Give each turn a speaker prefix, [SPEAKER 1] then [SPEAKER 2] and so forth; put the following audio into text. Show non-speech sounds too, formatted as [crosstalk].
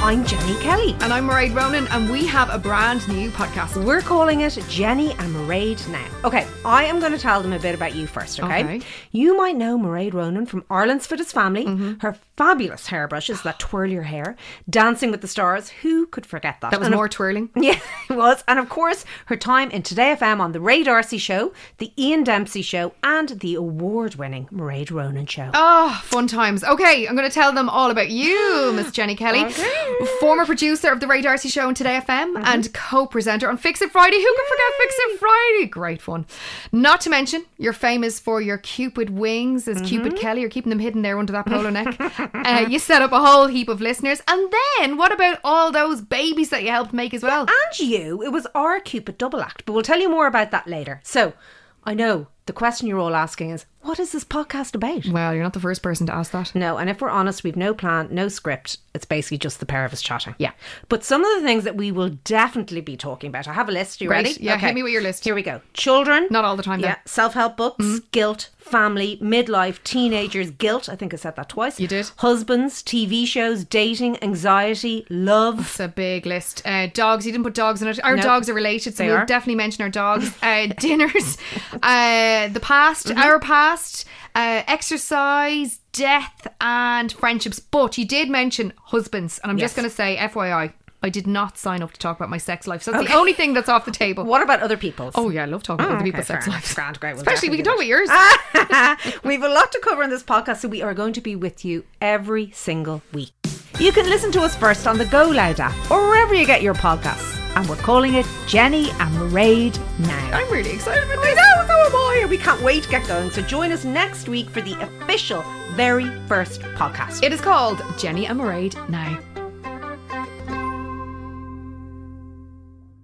[SPEAKER 1] I'm Jenny Kelly.
[SPEAKER 2] And I'm Mairead Ronan, and we have a brand new podcast.
[SPEAKER 1] We're calling it Jenny and Mairead now. Okay, I am going to tell them a bit about you first, okay?
[SPEAKER 2] Okay.
[SPEAKER 1] You might know Mairead Ronan from Ireland's Fittest Family,
[SPEAKER 2] Mm-hmm.
[SPEAKER 1] her fabulous hairbrushes
[SPEAKER 2] [gasps]
[SPEAKER 1] that twirl your hair, Dancing with the Stars. Who could forget that?
[SPEAKER 2] That was
[SPEAKER 1] And of-
[SPEAKER 2] more twirling.
[SPEAKER 1] [laughs] Yeah, it was. And of course, her time in Today FM on The Ray Darcy Show, The Ian Dempsey Show, and the award winning Mairead Ronan Show.
[SPEAKER 2] Ah, fun times. Okay, I'm going to tell them all about [gasps] you, Miss Jenny Kelly, former producer of the Ray Darcy Show and Today FM, and co-presenter on Fix It Friday. Who can forget Fix It Friday? Great fun. Not to mention, you're famous for your Cupid wings, as Cupid Kelly. You're keeping them hidden there under that polo [laughs] neck. Uh, you set up a whole heap of listeners, and then what about all those babies that you helped make as well?
[SPEAKER 1] and you, it was our Cupid double act, but we'll tell you more about that later. So, I know the question you're all asking is what is this podcast about?
[SPEAKER 2] Well, you're not the first person to ask that.
[SPEAKER 1] No, and if we're honest, we've no plan, no script. It's basically just the pair of us chatting.
[SPEAKER 2] Yeah.
[SPEAKER 1] But some of the things that we will definitely be talking about. I have a list. You
[SPEAKER 2] Great.
[SPEAKER 1] ready?
[SPEAKER 2] Yeah, hit me with your list.
[SPEAKER 1] Here we go. Children.
[SPEAKER 2] Not all the time, though. Mm-hmm.
[SPEAKER 1] Yeah. Self help books, guilt, family, midlife, teenagers, guilt. I think I said that twice.
[SPEAKER 2] You did.
[SPEAKER 1] Husbands, TV shows, dating, anxiety, love.
[SPEAKER 2] It's a big list. Uh, dogs, you didn't put dogs in it. Our
[SPEAKER 1] No.
[SPEAKER 2] dogs are related, so
[SPEAKER 1] They
[SPEAKER 2] we'll
[SPEAKER 1] are.
[SPEAKER 2] definitely mention
[SPEAKER 1] [laughs]
[SPEAKER 2] our dogs. Uh, dinners, uh, the past,
[SPEAKER 1] Mm-hmm.
[SPEAKER 2] our past, uh, exercise, death, and friendships. But you did mention husbands, and I'm
[SPEAKER 1] Yes.
[SPEAKER 2] just going to say, FYI, I did not sign up to talk about my sex life. So that's the only thing that's off the table.
[SPEAKER 1] What about other people's?
[SPEAKER 2] Oh, yeah, I love talking about other people's sex lives.
[SPEAKER 1] Grand, great. We'll
[SPEAKER 2] Especially, we can talk
[SPEAKER 1] definitely
[SPEAKER 2] about yours.
[SPEAKER 1] We've a [laughs] lot to cover in this podcast, so we are going to be with you every single week. You can listen to us first on the Go Loud app or wherever you get your podcasts. And we're calling it Jenny and Raid Now.
[SPEAKER 2] I'm really excited about
[SPEAKER 1] I
[SPEAKER 2] this.
[SPEAKER 1] know, so am I. We can't wait to get going. So join us next week for the official very first podcast.
[SPEAKER 2] It is called Jenny and Mairead Now.